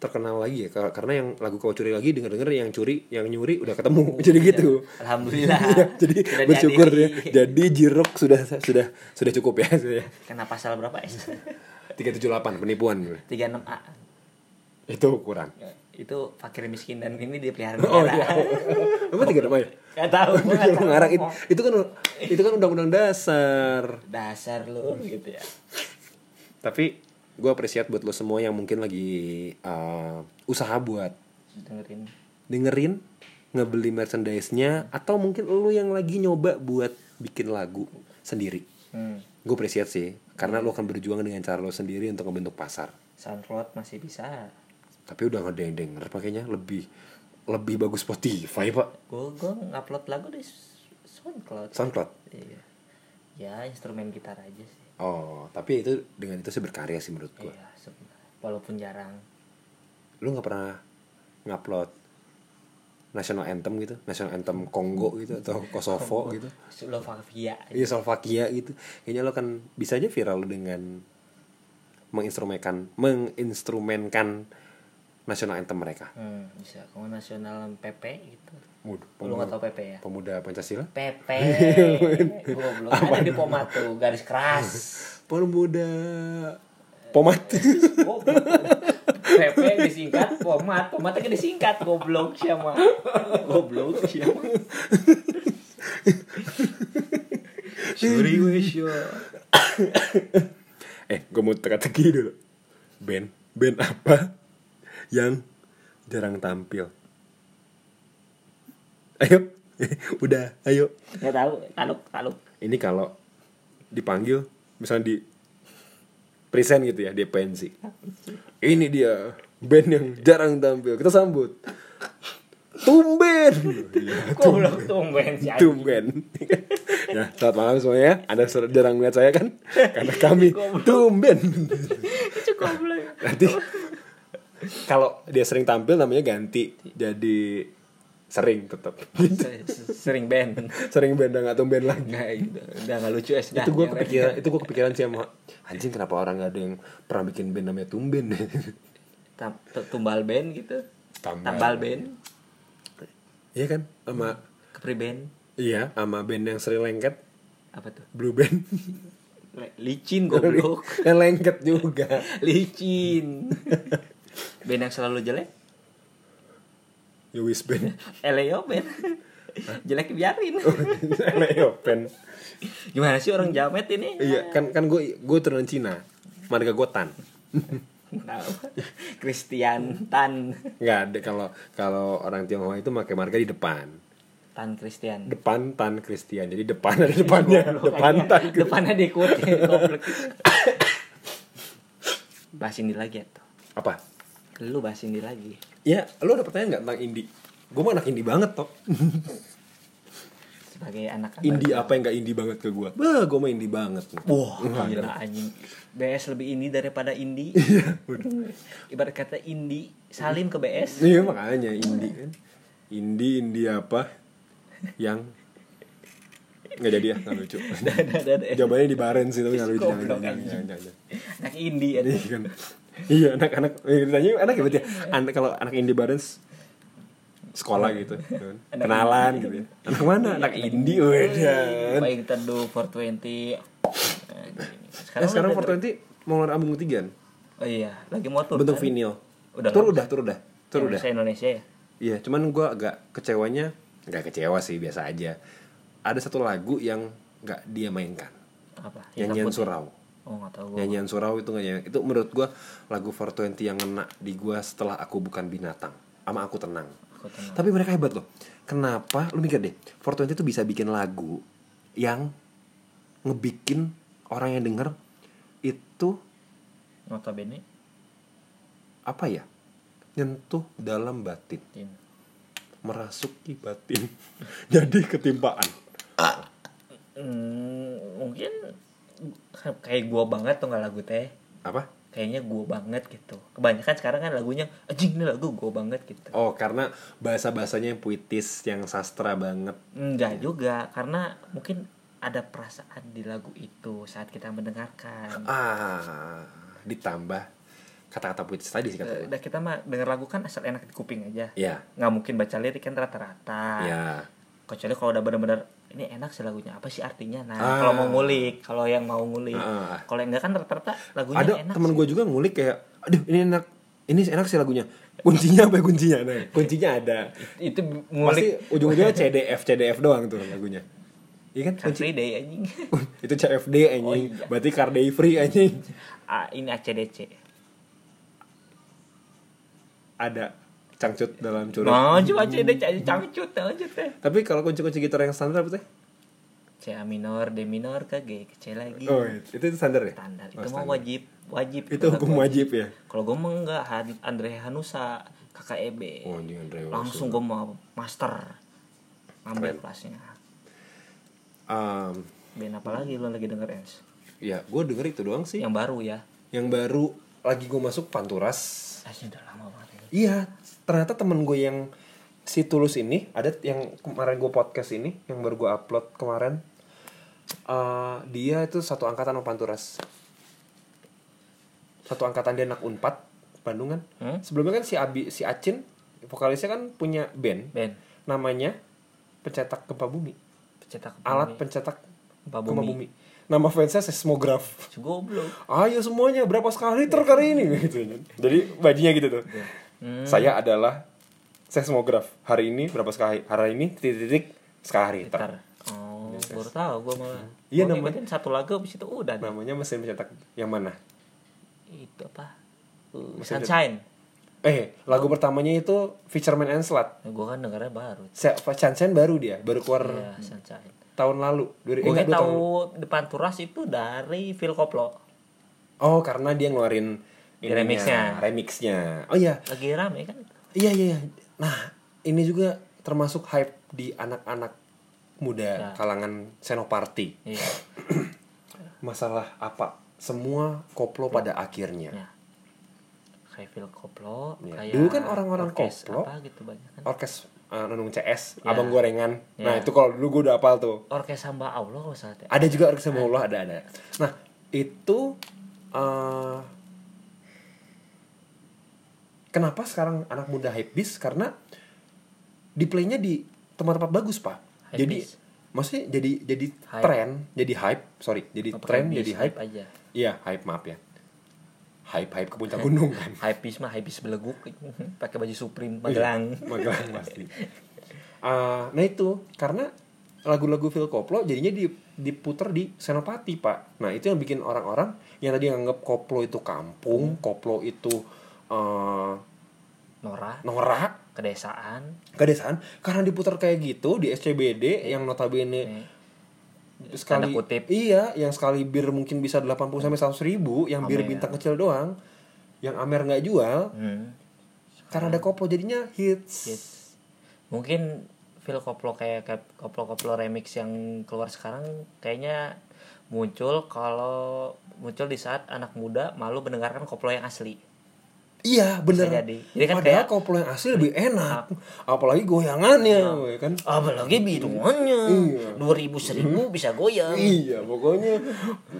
terkenal lagi ya Kar- karena yang lagu kau curi lagi denger denger yang curi yang nyuri udah ketemu [laughs] jadi gitu
Oh, iya. Alhamdulillah.
[laughs] Iya, jadi
Sudah
bersyukur ya
diadili.
jadi jeruk sudah sudah sudah cukup ya
kena pasal berapa es [laughs]
378 penipuan
36 a
itu ukuran
itu fakir miskin dan ini dipelihara
oh
negara.
iya emang tiga ya
Gak tahu. gua [laughs] nggak
Jeruk
tahu.
ngarang itu, itu kan itu kan undang-undang dasar
dasar lu gitu ya.
tapi gue apresiat buat lo semua yang mungkin lagi uh, usaha buat
Dengerin.
dengerin ngebeli merchandise-nya atau mungkin lo yang lagi nyoba buat bikin lagu sendiri
Hmm.
gue apresiat sih karena lo akan berjuang dengan cara lo sendiri untuk ngebentuk pasar
Soundcloud masih bisa.
tapi udah nggak ada yang denger pakainya lebih lebih bagus Spotify pak
Gue gue ngupload lagu di Soundcloud.
SoundCloud
Iya. Ya instrumen gitar aja sih.
oh tapi itu dengan itu sih berkarya sih menurut gue
Iya, sebenarnya. walaupun jarang.
lu nggak pernah ngupload national anthem gitu national anthem Kongo gitu atau Kosovo gitu
Slovakia.
Iya Slovakia gitu Kayaknya lo kan bisa aja viral dengan Menginstrumenkan Menginstrumenkan National anthem mereka
Hmm, bisa. Kamu nasional PP gitu.
Waduh,
Lu
pemuda,
nggak tahu PP ya?
pemuda Pancasila
PP. Goblok. Ada di Pomatu garis keras.
Pemuda [laughs] Pomat
Goblok. PP disingkat Pomat. Pomat kan disingkat goblok siapa? Goblok siapa? Suri wisyo.
Eh gue mau teka-teki dulu Band Band apa Yang jarang tampil Ayo [laughs] Udah ayo
Enggak tahu, taluk taluk.
Ini kalau dipanggil misalnya di present gitu ya di pensi. Ini dia band yang jarang tampil. Kita sambut. Tumben. Iya,
Goblok tumben si anjing.
Tumben. ya, selamat malam semuanya. Anda sudah jarang melihat saya kan? Karena kami tumben.
Cukup goblok.
Nanti kalau dia sering tampil namanya ganti jadi sering tetap.
Se- se- Sering band.
sering band dan nggak tumben lagi.
Enggak, udah enggak lucu es dah.
itu gue
Yang lain.
kepikiran itu gue kepikiran sih sama Nah, anjing kenapa orang gak ada yang pernah bikin band namanya tumben [laughs]
Tam- tu- tumbal band gitu.
Tambal.
Tambal band.
iya kan sama
Kepri band.
iya sama band yang sering lengket
Apa tuh?
blue [laughs] band
Le- Licin goblok.
yang lengket juga
[laughs] licin band yang selalu jelek
[laughs] Yowis band
eleo band jelek biarin
Elek Yopen.
gimana sih orang jamet ini
Iya, kan kan gue gue turunan Cina. Marga gue Tan.
Tahu. Christian Tan
Enggak ada kalau kalau orang Tionghoa itu pakai marga di depan.
Tan Christian
Depan Tan Christian. Jadi depan ada depannya. Iya, depan Tan. Christian.
depannya diikuti goblok. bahas ini lagi ya tuh
Apa?
lu bahas ini lagi
Ya, lu ada pertanyaan nggak tentang indie? Gue mah anak indie banget toh.
sebagai anak anak
Indie apa yang nggak indie banget ke Oh, gue? Bah, gue mah indie banget.
Wah,
Nggak ada.
gila anjing. BS lebih ini daripada
[laughs]
Indi.
Iya,
Ibarat kata Indi salim ke
[laughs]
BS.
Iya makanya indie kan. Indie indie apa yang nggak jadi ya nggak lucu.
Dan [laughs] ada
Jawabannya di Baren sih tapi nggak lucu. Jangan,
Goblok,
jangan,
anjing.
jangan, jangan, jangan.
anak Indi ya.
Iya kan. Iya anak-anak eh, ditanya anak ya berarti ya? anak kalau anak indie bareng s- sekolah gitu kan.
Anak
kenalan gitu ya. anak mana anak indie wedan
Baik teduh 420. Anjing.
eh, sekarang
udah
Fort
ter-
20 mau ngeluarin album ketiga kan?
Oh iya, lagi mau tur.
bentuk
kan?
vinil
Udah
tur
nggak?
udah tur udah tur udah
Indonesia Indonesia ya.
iya cuman gua agak kecewanya nggak kecewa sih biasa aja ada satu lagu yang nggak dia mainkan
Apa?
nyanyian
takut.
surau
Oh, enggak tahu gua.
nyanyian surau itu nggak nyanyi- itu menurut gua lagu 420 yang ngena di gua setelah aku bukan binatang ama aku tenang
Aku tenang.
Tapi mereka hebat loh. Kenapa? Lu mikir deh, 420 tuh bisa bikin lagu yang ngebikin orang yang denger itu
Notabene
apa ya? Nyentuh dalam batin,
Tin.
merasuki batin. [laughs] Jadi ketimpaan.
Hmm, mungkin kayak gua banget tuh nggak lagu teh.
Apa?
kayaknya gue banget gitu kebanyakan sekarang kan lagunya anjing ini lagu gue banget gitu
Oh, karena bahasa-bahasanya yang puitis, yang sastra banget.
enggak juga karena mungkin ada perasaan di lagu itu saat kita mendengarkan
Ah, ditambah kata-kata puitis tadi sih kata gue.
udah kita mah denger lagu kan asal enak di kuping aja
Ya,
nggak mungkin baca lirik kan rata-rata
ya.
kecuali kalau udah bener-bener ini enak sih lagunya apa sih artinya nah
Ah.
kalau mau ngulik kalau yang mau ngulik
Ah.
kalau yang enggak kan rata-rata lagunya
ada
enak
teman
sih.
gue juga ngulik kayak aduh ini enak ini enak sih lagunya kuncinya apa ya kuncinya nah kuncinya ada
itu
pasti
ngulik
ujung-ujungnya CDF CDF doang tuh lagunya iya kan
kan
kunci [laughs]
day anjing
itu CFD anjing
Oh, iya.
berarti car day free anjing
Ah, ini ACDC
ada cangcut dalam curut
Nah, cuma ACDC aja cangcut aja teh
tapi kalau kunci-kunci gitar yang standar apa teh
C A minor, D minor, ke G, ke C lagi.
oh itu, itu standar ya
Iya. Standar.
Oh,
Itu mah
standar.
wajib, wajib.
itu hukum
mah
wajib ya
Kalau gue mah enggak Han- Andre Hanusa, KKEB.
Oh, anjing, Andre Hanusa.
Langsung gue mau master. Ngambil kelasnya.
Em,
Ben apa lagi lo lagi denger Ens?
ya gue denger itu doang sih
Yang baru ya.
yang baru lagi gue masuk panturas
Asli udah lama banget. ini.
Iya, ternyata temen gue yang si Tulus ini ada yang kemarin gue podcast ini yang baru gue upload kemarin. Eh, dia itu satu angkatan sama Panturas. Satu angkatan dia anak Unpad Bandung kan.
Hmm?
Sebelumnya kan si Abi si Acin vokalisnya kan punya band
Ben,
namanya Pencetak Gempa Bumi.
pencetak
Alat pencetak
Gempa
Gempa Bumi.
Bumi.
Nama fansnya seismograf.
Si Goblok.
Ayo semuanya berapa sekali liter kali ini [laughs] gitu. Jadi bajunya gitu tuh.
Iya. Hmm.
Saya adalah seismograf. Hari ini berapa sekali? Hari ini titik-titik sekali liter.
Ntar. Oh, baru tahu gue malah.
Iya,
Gua
namanya-
ngikutin satu lagu abis itu udah. deh.
Namanya mesin pencetak yang mana?
Itu apa? Uh,
Mesin-
Sunshine.
Eh, lagu pertamanya itu Fisherman and Slut.
Gue kan dengernya baru.
Se- Sunshine baru dia, baru keluar
Iya, Sunshine.
tahun lalu. Dari,
Gue
enggak, dua tahun-
tahu depan turas itu dari Phil Koplo.
Oh, karena dia ngeluarin
Di
ininya,
remixnya.
remixnya. Oh iya,
Lagi rame kan?
iya iya. iya. Nah, ini juga termasuk hype di anak-anak muda
Nah.
kalangan senoparty.
Iya.
masalah apa semua koplo pada akhirnya
ya. Kayak Phil Koplo,
Iya.
kayak
Dulu kan orang-orang
orkes
koplo.
Apa gitu banyak kan?
orkes uh, Nunung CS
Ya.
abang gorengan nah
Ya.
itu kalau dulu gue udah apal tuh
Orkes hamba Allah kalau salah teh.
ada juga orkes sama Allah ada ada nah itu uh, kenapa sekarang anak muda hypebeast karena di playnya di tempat-tempat bagus pak jadi
Hypebeast.
maksudnya jadi jadi
Hype.
tren jadi hype sorry jadi
Apa
tren
hypebeast,
jadi hype
aja.
iya hype maaf ya hype hype ke puncak gunung kan
[laughs]
Iya.
Hypebeast mah hypebeast beleguk pakai baju Supreme Magelang.
Magelang pasti. Ah, nah itu karena lagu-lagu Phil Koplo jadinya di- diputer di Senopati pak. Nah itu yang bikin orang-orang yang tadi nganggap koplo itu kampung,
Hmm.
koplo itu eh,
Nora,
norak,
kedesaan,
kedesaan karena diputar kayak gitu di SCBD yang notabene
nih,
sekali
Hmm. Tanda kutip.
iya yang sekali bir mungkin bisa 80 sampai 100 ribu yang bir
Amer.
bintang kecil doang yang Amer nggak jual
hmm,
karena ada koplo jadinya hits
yes. mungkin feel koplo kayak kayak koplo-koplo remix yang keluar sekarang kayaknya muncul kalau muncul di saat anak muda malu mendengarkan koplo yang asli.
iya bener
Bisa jadi. Jadi kan
padahal
kayak-
koplo yang asli lebih enak apalagi goyangannya
Iya.
woy, kan
Apalagi bidungannya, dua ribu seribu bisa goyang.
iya pokoknya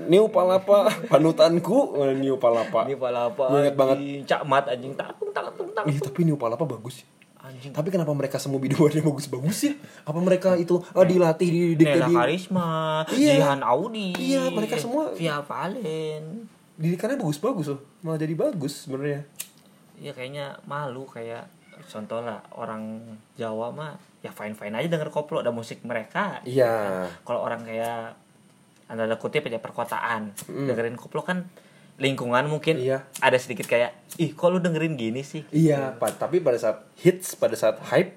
new palapa panutanku eh, new palapa
Ini pala apa?
Ingat banget.
anjing? Cak mat anjing takung takung takung.
Ih, Iya, tapi new palapa bagus sih
Anjing.
Tapi kenapa mereka semua biduannya bagus-bagus sih? Apa mereka itu eh, dilatih di di,
Nela
di-
Karisma,
Iya.
Jihan Audi.
Iya, mereka semua-
Via Valen.
didikannya bagus-bagus loh. Malah jadi bagus sebenarnya.
Iya kayaknya malu kayak contoh lah orang Jawa mah ya fine fine aja denger koplo ada musik mereka.
Iya.
Kalau orang kayak anda kutip aja perkotaan dengerin koplo kan lingkungan mungkin
Mm. Iya.
ada sedikit kayak ih kok lu dengerin gini sih
Iya, pa- tapi pada saat hits, pada saat hype,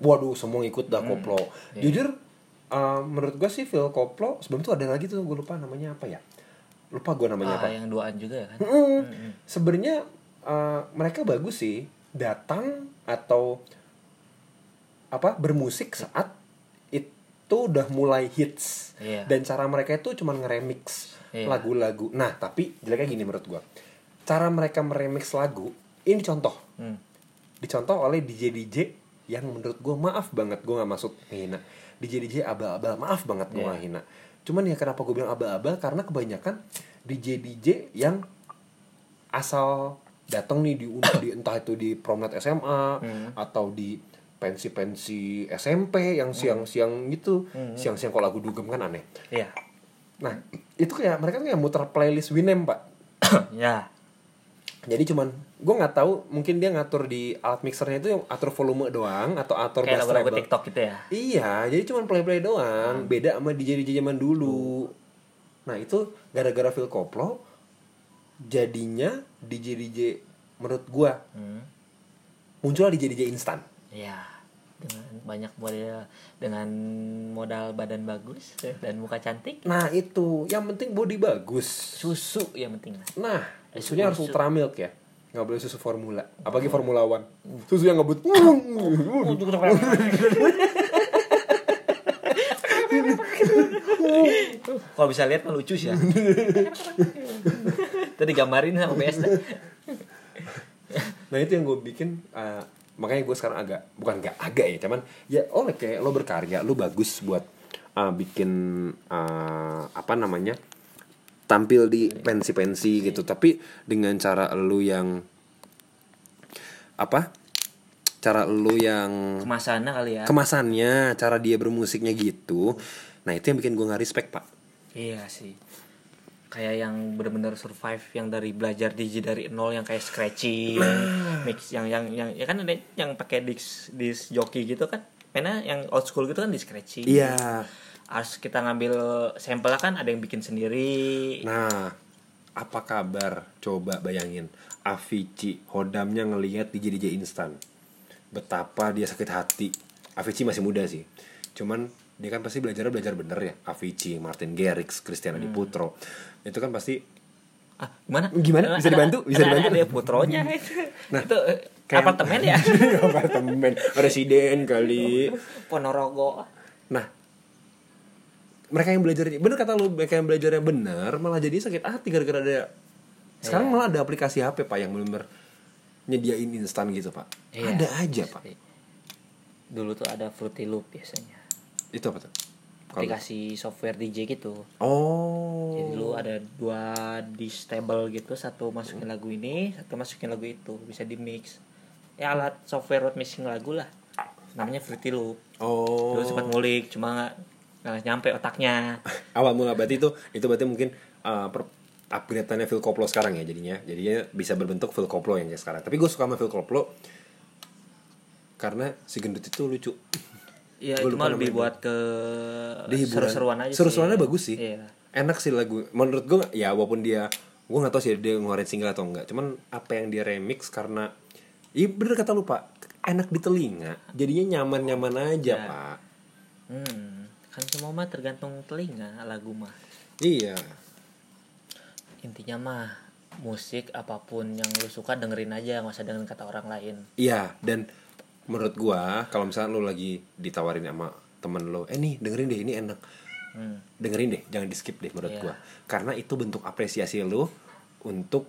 waduh semua ngikut dah
Hmm,
koplo.
iya.
Jujur eh, menurut gua sih Phil Koplo sebelum itu ada lagi tuh gue lupa namanya apa ya. Lupa gua namanya apa.
Ah, yang duaan juga ya kan
Mm-mm. Sebenarnya eh, mereka bagus sih datang atau apa bermusik saat itu udah mulai hits
Iya.
dan cara mereka itu cuman ngeremix
Iya.
lagu-lagu. Nah tapi jeleknya gini menurut gua cara mereka meremix lagu ini contoh
Hmm.
dicontoh oleh DJ DJ yang menurut gua maaf banget gua nggak maksud ngehina DJ DJ abal-abal maaf banget gue
Iya.
nggak hina. Cuman ya kenapa gue bilang abal-abal karena kebanyakan DJ DJ yang asal datang nih di, di entah itu di promenade SMA
Hmm.
atau di pensi-pensi SMP
Hmm.
yang siang-siang gitu siang-siang kalau lagu dugem kan aneh
Iya.
nah itu kayak mereka tuh kayak muter playlist Winem pak
ya.
jadi cuman gue nggak tahu mungkin dia ngatur di alat mixernya itu yang atur volume doang atau atur bass
Kayak lagu-lagu Hmm.
treble.
TikTok gitu ya.
Iya, jadi cuman play-play doang. Beda sama DJ DJ zaman dulu. Nah, itu gara-gara Phil Koplo jadinya DJ DJ menurut gua
Hmm.
muncul DJ DJ instan.
Iya. Dengan banyak model dengan modal badan bagus dan muka cantik,
Nah, itu yang penting body bagus.
susu yang penting. Mas.
Nah,
Susu-
susunya harus
susu.
ultra milk ya. Nggak boleh susu formula. Apalagi formula one. Susu yang ngebut.
Kalau bisa lihat kan lucu sih ya. Tadi gambarin sama PS dah.
nah itu yang gue bikin eh, makanya gue sekarang agak bukan nggak agak ya cuman ya oleh kayak lo berkarya lo bagus buat eh, bikin eh, apa namanya tampil di pensi-pensi gitu tapi dengan cara lo yang apa cara lo yang
Kemasannya kali ya.
kemasannya cara dia bermusiknya gitu nah itu yang bikin gue nggak respect pak
Iya sih. Kayak yang benar-benar survive yang dari belajar DJ dari nol yang kayak scratching,
Ah.
mix yang yang yang ya kan ada yang pakai disc disc joki gitu kan. Karena yang old school gitu kan di scratching.
iya
harus kita ngambil sampelnya kan ada yang bikin sendiri
Nah, apa kabar? Coba bayangin, Avicii hodamnya ngelihat DJ DJ instan. Betapa dia sakit hati. Avicii masih muda sih. Cuman dia kan pasti belajar belajar bener ya. Avicii, Martin Garrix, Christian Adiputro. Itu kan pasti [laughs]
ah, gimana
Gimana? Bisa dibantu? Bisa
Ada-
dibantu? Hmm. Nah,
ada, ada putronya itu itu eh,
kayak-
apartemen
[laughs]
ya
apartemen residen kali.
ponorogo
Nah, mereka yang belajar bener kata lu mereka yang belajar yang bener malah jadi sakit hati gara-gara ada sekarang
Iya.
malah ada aplikasi HP pak yang bener-bener nyediain instan gitu pak
Iya.
ada aja pak
dulu tuh ada Fruity Loop biasanya
itu apa tuh Kalau-
aplikasi software DJ gitu
oh
jadi lu ada dua disk table gitu satu masukin lagu ini satu masukin lagu itu bisa di mix ya alat software buat mixing lagu lah namanya Fruity Loop
oh
dulu sempat ngulik cuma nggak nggak nyampe otaknya
[laughs] awal mula berarti itu itu berarti mungkin uh, per upgrade-annya Phil Koplo sekarang ya jadinya jadinya bisa berbentuk Phil Koplo yang kayak sekarang tapi gue suka sama Phil Koplo karena si gendut itu lucu
Iya,
Gua
itu
lupa
mah lebih
namanya.
buat ke
Dia hiburan.
seru-seruan aja
Seru-seruannya
sih.
bagus sih.
Iya.
Enak sih lagu. Menurut gue ya walaupun dia gue nggak tahu sih dia ngeluarin single atau enggak. Cuman apa yang dia remix karena Iya bener kata lupa enak di telinga jadinya nyaman-nyaman aja
Ya.
pak
Hmm, kan semua mah tergantung telinga lagu mah.
iya
Intinya mah musik apapun yang lu suka dengerin aja nggak usah dengerin kata orang lain.
Iya, dan menurut gua kalau misalnya lu lagi ditawarin sama temen lu, eh nih dengerin deh ini enak.
Hmm.
Dengerin deh, jangan di skip deh menurut
Iya.
gua. Karena itu bentuk apresiasi lu untuk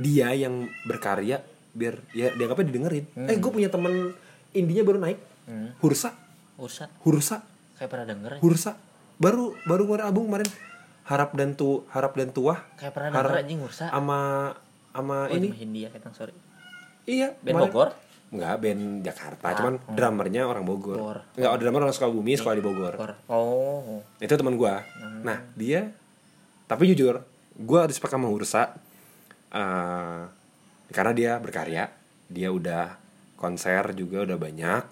dia yang berkarya biar ya dianggapnya didengerin. Eh gua punya temen indinya baru naik.
Hmm.
Hursa,
Ursa
Hursa,
kayak pernah denger. ya?
Hursa. Baru baru ngeluarin album kemarin Harap dan tu Harap dan Tuah
Kayak pernah
Harap-
denger anjing Ursa.
sama sama
Oh, ini
ini.
Hindia ketang sorry.
Iya,
Ben
kemarin.
Bogor.
Enggak, band Jakarta,
Ah,
cuman drummernya orang Bogor.
Bogor.
Enggak, drummer orang Sukabumi, sekolah di Bogor.
Bogor. Hmm. Oh.
Itu teman gua. Nah, dia tapi jujur, gua harus pakai sama Hursa eh, karena dia berkarya, dia udah konser juga udah banyak.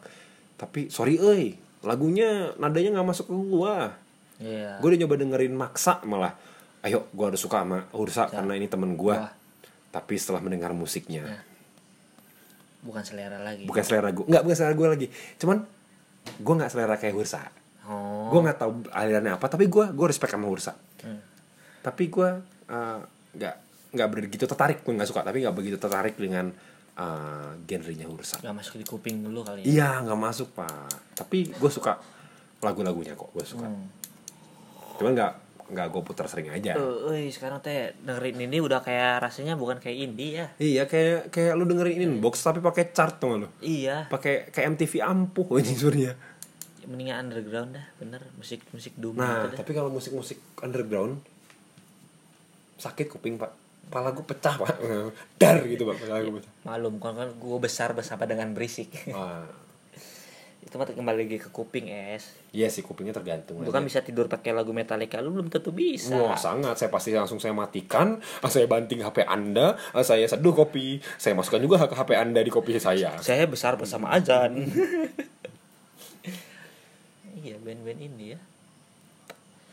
Tapi sorry euy, lagunya nadanya nggak masuk ke gua.
Iya.
Gue udah nyoba dengerin maksa malah. Ayo, gua harus suka sama Hursa karena ini teman gua.
Wah. Ya.
Tapi setelah mendengar musiknya,
Bukan selera lagi.
bukan selera gue nggak bukan selera gue lagi cuman gue nggak selera kayak Hursa
Oh.
gue nggak tahu alirannya apa tapi gue gue respect sama Hursa
Hmm.
tapi gue eh, nggak nggak begitu tertarik gue nggak suka tapi nggak begitu tertarik dengan eh, genrenya Hursa
Gak masuk di kuping dulu kali ya.
iya nggak masuk pak tapi gue suka lagu-lagunya kok gue suka
Hmm.
cuman nggak nggak gue putar sering aja
Tuh, euy, sekarang teh dengerin ini udah kayak rasanya bukan kayak indie ya.
iya kayak kayak lu dengerin inbox tapi pakai chart tuh lu
Iya,
pakai kayak MTV ampuh ini surnya
mendingan underground dah, bener musik musik doom
Nah,
gitu dah.
tapi kalau musik-musik underground sakit kuping, Pak. Kepala gue pecah, Pak. [laughs] Dar gitu, Pak. Kepala gue pecah.
Malum kan kan gue besar bersama dengan berisik. [laughs]
Wah.
Itu mah kembali lagi ke kuping es.
Iya sih kupingnya tergantung.
Bukan
aja.
bisa tidur pakai lagu Metallica lu belum tentu bisa.
Wah, sangat. Saya pasti langsung saya matikan, [laughs] ah, saya banting HP Anda, ah, saya seduh kopi, saya masukkan juga ke HP Anda di kopi saya.
Saya besar bersama
[laughs]
azan. iya, band-band ini ya.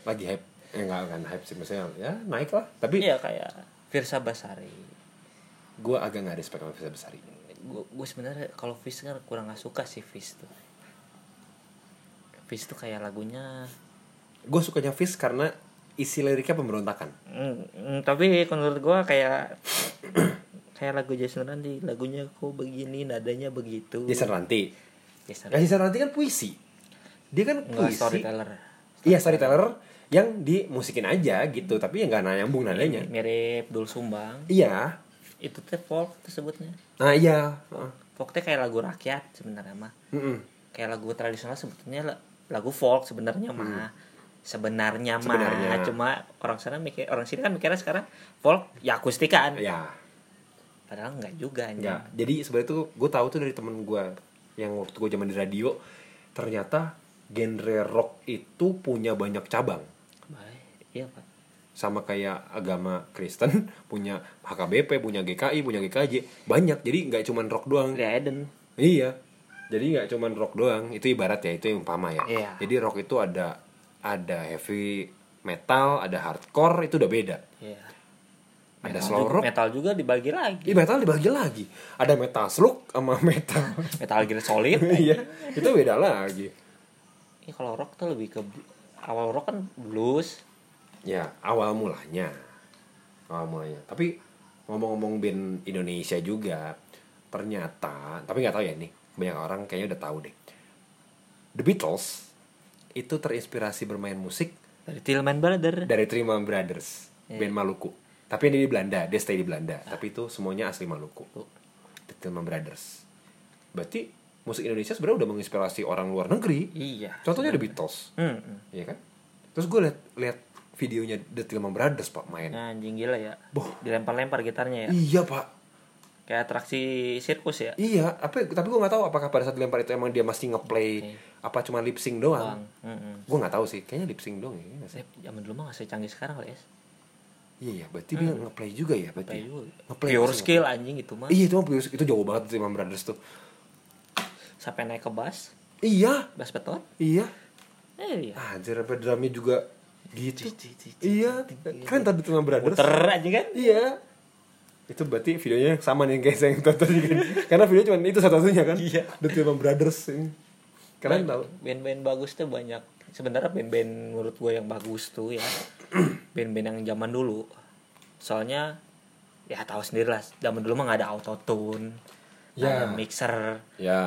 Lagi hype. Eh, enggak, kan hype sih misalnya. Ya, naik lah. Tapi
Iya kayak Virsa Basari.
gue agak nggak respect sama Fisa Besari.
gue sebenarnya kalau Fish kan kurang gak suka sih Fish tuh Fish tuh kayak lagunya
Gue sukanya Fis karena isi liriknya pemberontakan.
mm, mm, tapi menurut gue kayak [coughs] kayak lagu Jason Randy lagunya kok begini nadanya begitu
Jason Ranti.
Jason
Nah, Jason Ranti kan puisi. Dia kan
Enggak,
puisi.
storyteller
Iya storyteller yang dimusikin aja gitu tapi ya nggak nyambung nadanya.
mirip Dul Sumbang
Iya.
itu teh folk tersebutnya
Nah iya. Heeh.
folk teh kayak lagu rakyat sebenarnya mah
Mm-mm.
kayak lagu tradisional sebetulnya la- lagu folk sebenarnya mah sebenarnya
Hmm. Sebenarnya.
mah cuma orang sana mikir orang sini kan mikirnya sekarang folk ya akustikan
Ya.
padahal enggak juga anjing.
Ya. Jadi sebenarnya tuh gue tahu tuh dari temen gue yang waktu gue zaman di radio ternyata genre rock itu punya banyak cabang
Baik. iya pak
sama kayak agama Kristen [laughs] punya HKBP punya GKI punya GKJ banyak jadi nggak cuman rock doang
Dari Eden
Iya. Jadi nggak cuman rock doang, itu ibarat ya, itu yang umpama ya.
Iya.
Jadi rock itu ada ada heavy metal, ada hardcore, itu udah beda.
iya
Ada
Metal
slow
juga-
rock. Iya.
metal juga dibagi lagi
Ih, metal dibagi lagi. Ada metal slug sama [laughs] metal.
metal gear [laughs] solid
Iya, itu beda lagi.
Ini Iya, kalau rock tuh lebih ke bl- awal rock kan blues
Ya, awal mulanya. Awal mulanya. Tapi ngomong-ngomong band Indonesia juga, ternyata, tapi nggak tahu ya nih, banyak orang kayaknya udah tahu deh. The Beatles itu terinspirasi bermain musik
dari Tillman Brother
dari Trima Brothers band Maluku tapi dia di Belanda dia stay di Belanda tapi itu semuanya asli Maluku The Trima Brothers berarti musik Indonesia sebenarnya udah menginspirasi orang luar negeri
iya
contohnya The Beatles
Hmm, hmm.
iya kan terus gue liat liat videonya The Trima Brothers pak main
Nah, anjing gila ya
Boh.
dilempar-lempar gitarnya ya
iya pak
kayak atraksi sirkus ya
iya apa tapi gue nggak tahu apakah pada saat dilempar itu emang dia masih ngeplay apa cuma lip sync doang
Bang. Hmm, hmm.
gue nggak tahu sih kayaknya lip sync doang ya nggak sih?
Saya zaman dulu mah gak secanggih sekarang kali ya.
iya iya berarti dia ngeplay juga ya berarti
Play
ya?
dulu.
ngeplay
Iya. Pure
masih
skill anjing itu mah.
Iya itu mah Prius- itu jauh banget sih Imam Brothers tuh.
Sampai naik ke bus.
Iya,
Bas betot?
iya.
Eh iya.
Anjir, apa drumnya juga gitu. Iya, keren tadi Tuna Brothers.
Ter aja kan?
Iya. Itu berarti videonya sama nih guys yang tonton tadi
[laughs]
kan. Karena video cuma itu satu-satunya kan.
Iya.
The Tuna Brothers ini. Keren tau.
Band-band bagus tuh banyak. Sebenarnya band-band menurut gue yang bagus tuh
[clears throat]
ya band-band yang zaman dulu. Soalnya ya tahu sendiri lah. Zaman dulu mah nggak ada autotune, nggak ada
Ya.
mixer.
Ya.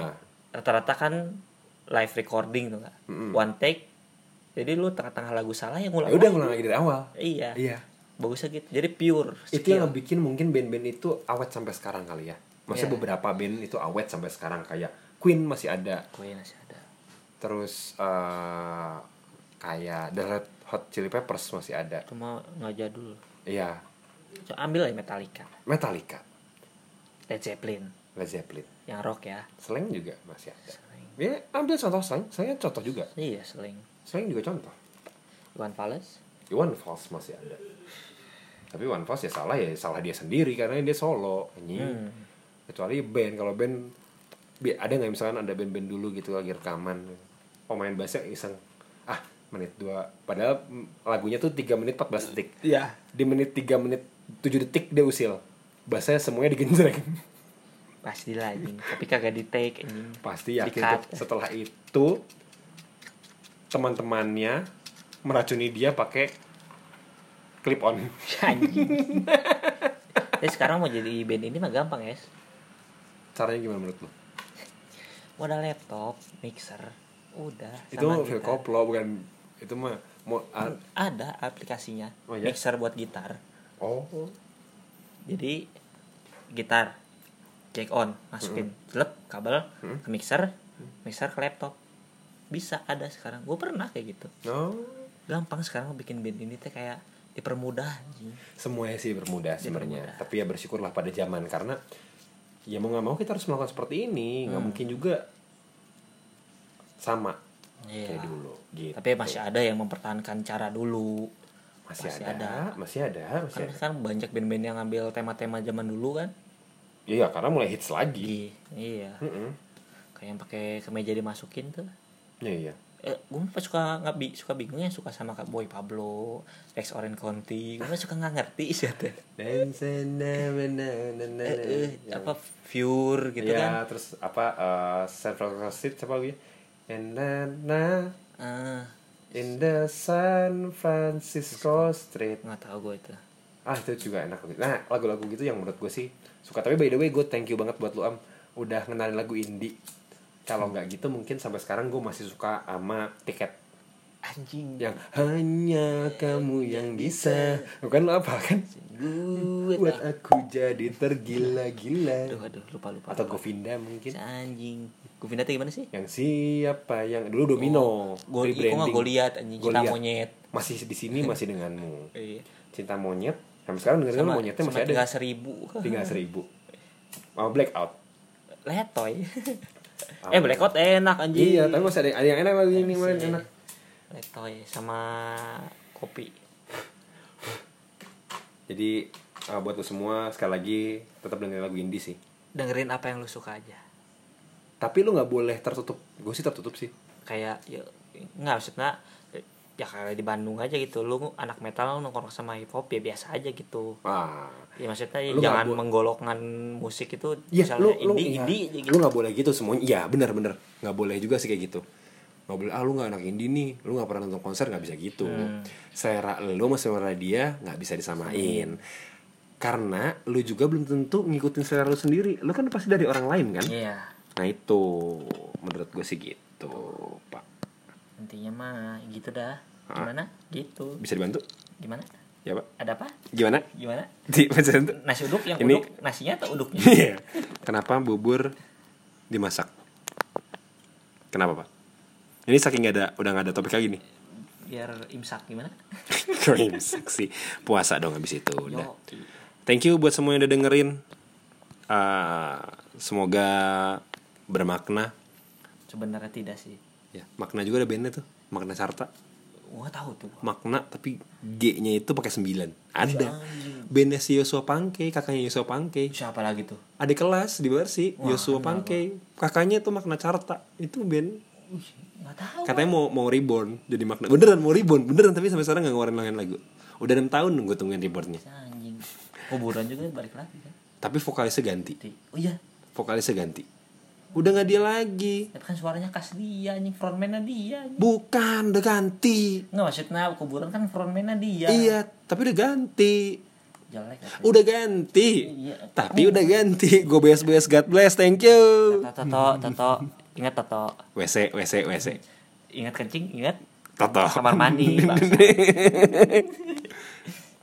Rata-rata kan live recording tuh nggak. One take. Jadi lu tengah-tengah lagu salah yang ngulang.
Ya udah ngulang lagi dari awal.
Iya.
Iya.
Bagusnya gitu. Jadi pure.
Itu
skill.
yang bikin mungkin band-band itu awet sampai sekarang kali ya. Maksudnya
Iya.
beberapa band itu awet sampai sekarang kayak Queen masih ada.
Gue ya masih ada.
Terus eh, kayak The Red Hot Chili Peppers masih ada.
Cuma nggak jadul.
Iya.
So, ambil aja Metallica,
Metallica,
Led Zeppelin,
Led Zeppelin.
yang rock ya.
Slang juga masih ada.
Slang.
Ya, ambil contoh slang. Slangnya contoh juga.
Iya, sling.
Slang juga contoh.
Iwan Fals.
Iwan Fals masih ada. Tapi Iwan Fals ya salah ya salah dia sendiri karena dia solo nyanyi.
Hmm.
Kecuali band kalau band bi- ada nggak misalkan ada band-band dulu gitu lagi rekaman pemain bassnya iseng ah menit dua padahal mm, lagunya tuh 3 menit 14 detik
Iya.
di menit 3 menit 7 detik dia usil bassnya semuanya digenjreng [laughs]
Pastilah anjing, tapi kagak di take anjing.
pasti yakin
Di-cut.
tuh. setelah itu teman-temannya meracuni dia pakai clip on
[laughs] Anjing. Tapi sekarang mau jadi band ini mah gampang, ya
caranya gimana menurut lo
Modal laptop, mixer, udah.
itu
sama
Phil
gitar.
Koplo bukan itu mah mau ah,
Ada aplikasinya.
Oh, iya?
Mixer buat gitar.
oh
Jadi gitar jack on masukin jelek kabel ke mixer mixer ke laptop bisa ada sekarang gue pernah kayak gitu
no
gampang sekarang bikin band ini teh kayak dipermudah anjing.
semuanya sih bermudah sebenarnya
bermudah.
tapi ya bersyukurlah pada zaman karena ya mau nggak mau kita harus melakukan seperti ini nggak mungkin juga sama
Iya.
kayak dulu gitu
tapi masih ada yang mempertahankan cara dulu
masih, ada, masih ada masih
kan,
ada
kan banyak band-band yang ngambil tema-tema zaman dulu kan
iya karena mulai hits lagi
Iya, iya
Mm-mm.
kayak yang pakai kemeja dimasukin tuh
iya iya
eh, gue mah suka nggak bi- suka bingung ya suka sama kak Boy Pablo Rex Orange County gue mah suka nggak ngerti
[laughs]
sih
Iya,
teh eh, eh, apa Fure gitu
ya,
kan
Iya. terus apa eh, San Francisco Street siapa lagi and then, nah,
ah
in the San Francisco Street
nggak tahu gue itu
ah itu juga enak nah lagu-lagu gitu yang menurut gue sih suka tapi by the way gue thank you banget buat lu am udah ngenalin lagu indie kalau nggak gitu mungkin sampai sekarang gue masih suka sama tiket
anjing
yang hanya kamu yang bisa bukan lu apa kan
gue
buat aku jadi tergila-gila
aduh aduh lupa lupa
atau
lupa.
Govinda mungkin
anjing gue pindah tuh gimana sih
yang siapa yang dulu domino
Gol-
rebranding.
Iko Oh, mah Goliat, anjing. Cinta
Goliat.
Monyet.
masih di
[laughs]
sini masih denganmu
Iya.
cinta monyet sampai sekarang dengerin
sama
monyetnya
sama
masih ada
tiga seribu
tiga seribu mau blackout
[laughs] letoy [laughs] eh blackout enak anjing
iya tapi masih ada, ada yang enak lagi ini
Masih.
kemarin enak
letoy sama kopi
jadi eh, buat lo semua sekali lagi tetap dengerin lagu indie sih
dengerin apa yang lu suka aja
tapi lu nggak boleh tertutup gue sih tertutup sih
kayak ya nggak maksudnya ya kayak di Bandung aja gitu lu anak metal lu nongkrong sama hip hop ya biasa aja gitu
ah
ya maksudnya ya
Lu nggak
jangan
bo-
menggolokkan musik itu
Iya,
misalnya
lu lu
indie
iya.
indie aja gitu.
lu nggak boleh gitu semuanya. Iya, benar benar. Nggak boleh juga sih kayak gitu. Nggak boleh. Ah, lu nggak anak indie nih. Lu nggak pernah nonton konser nggak bisa gitu. Selera lu sama selera dia nggak bisa disamain. Karena lu juga belum tentu ngikutin selera lu sendiri. Lu kan pasti dari orang lain kan.
iya
Nah itu menurut gue sih gitu, Pak.
intinya mah gitu dah
Ah.
gimana gitu
Bisa dibantu?
gimana
Ya, Pak.
ada apa
Gimana?
gimana
Di bisa dibantu?
nasi uduk yang
Ini-
uduk nasinya atau uduknya
[laughs] Iya. Kenapa bubur dimasak? Kenapa pak? Ini saking gak ada udah gak ada topik lagi nih. [laughs]
biar imsak gimana
Krim seksi puasa dong habis itu udah.
Yo.
Thank you buat semua yang udah dengerin. Ah, semoga bermakna.
sebenarnya tidak sih
Ya, makna juga ada bandnya tuh. Makna Sarta.
gua tahu tuh
Makna tapi G-nya itu pakai 9. Ada. Bandnya si Yosua Pangke, kakaknya Yosua Pangke.
siapa lagi tuh
adik kelas di Bersi Yosua Pangke kakaknya itu makna carta itu band
Wih, nggak tahu.
Katanya mau mau reborn jadi makna. Beneran mau reborn, beneran tapi sampai sekarang nggak ngeluarin ngeluarin lagu. Udah 6 tahun gue tungguin rebornnya.
Anjing. Kuburan juga balik lagi kan.
Tapi vokalisnya ganti.
Di- Oh iya,
Vokalisnya ganti. Udah nggak dia lagi.
tapi kan suaranya khas dia anjing, frontman-nya dia. anjing.
Bukan, udah ganti.
Nggak maksudnya kuburan kan frontman-nya dia.
Iya, tapi udah ganti.
Jelek. kan?
Udah ganti.
Iya.
Tapi udah ganti. Gue beas-beas God bless. Thank you.
Toto, Toto, Toto. Ingat Toto.
WC, WC, WC.
Ingat kencing, ingat
Toto. [laughs]
kamar mandi. bangsa.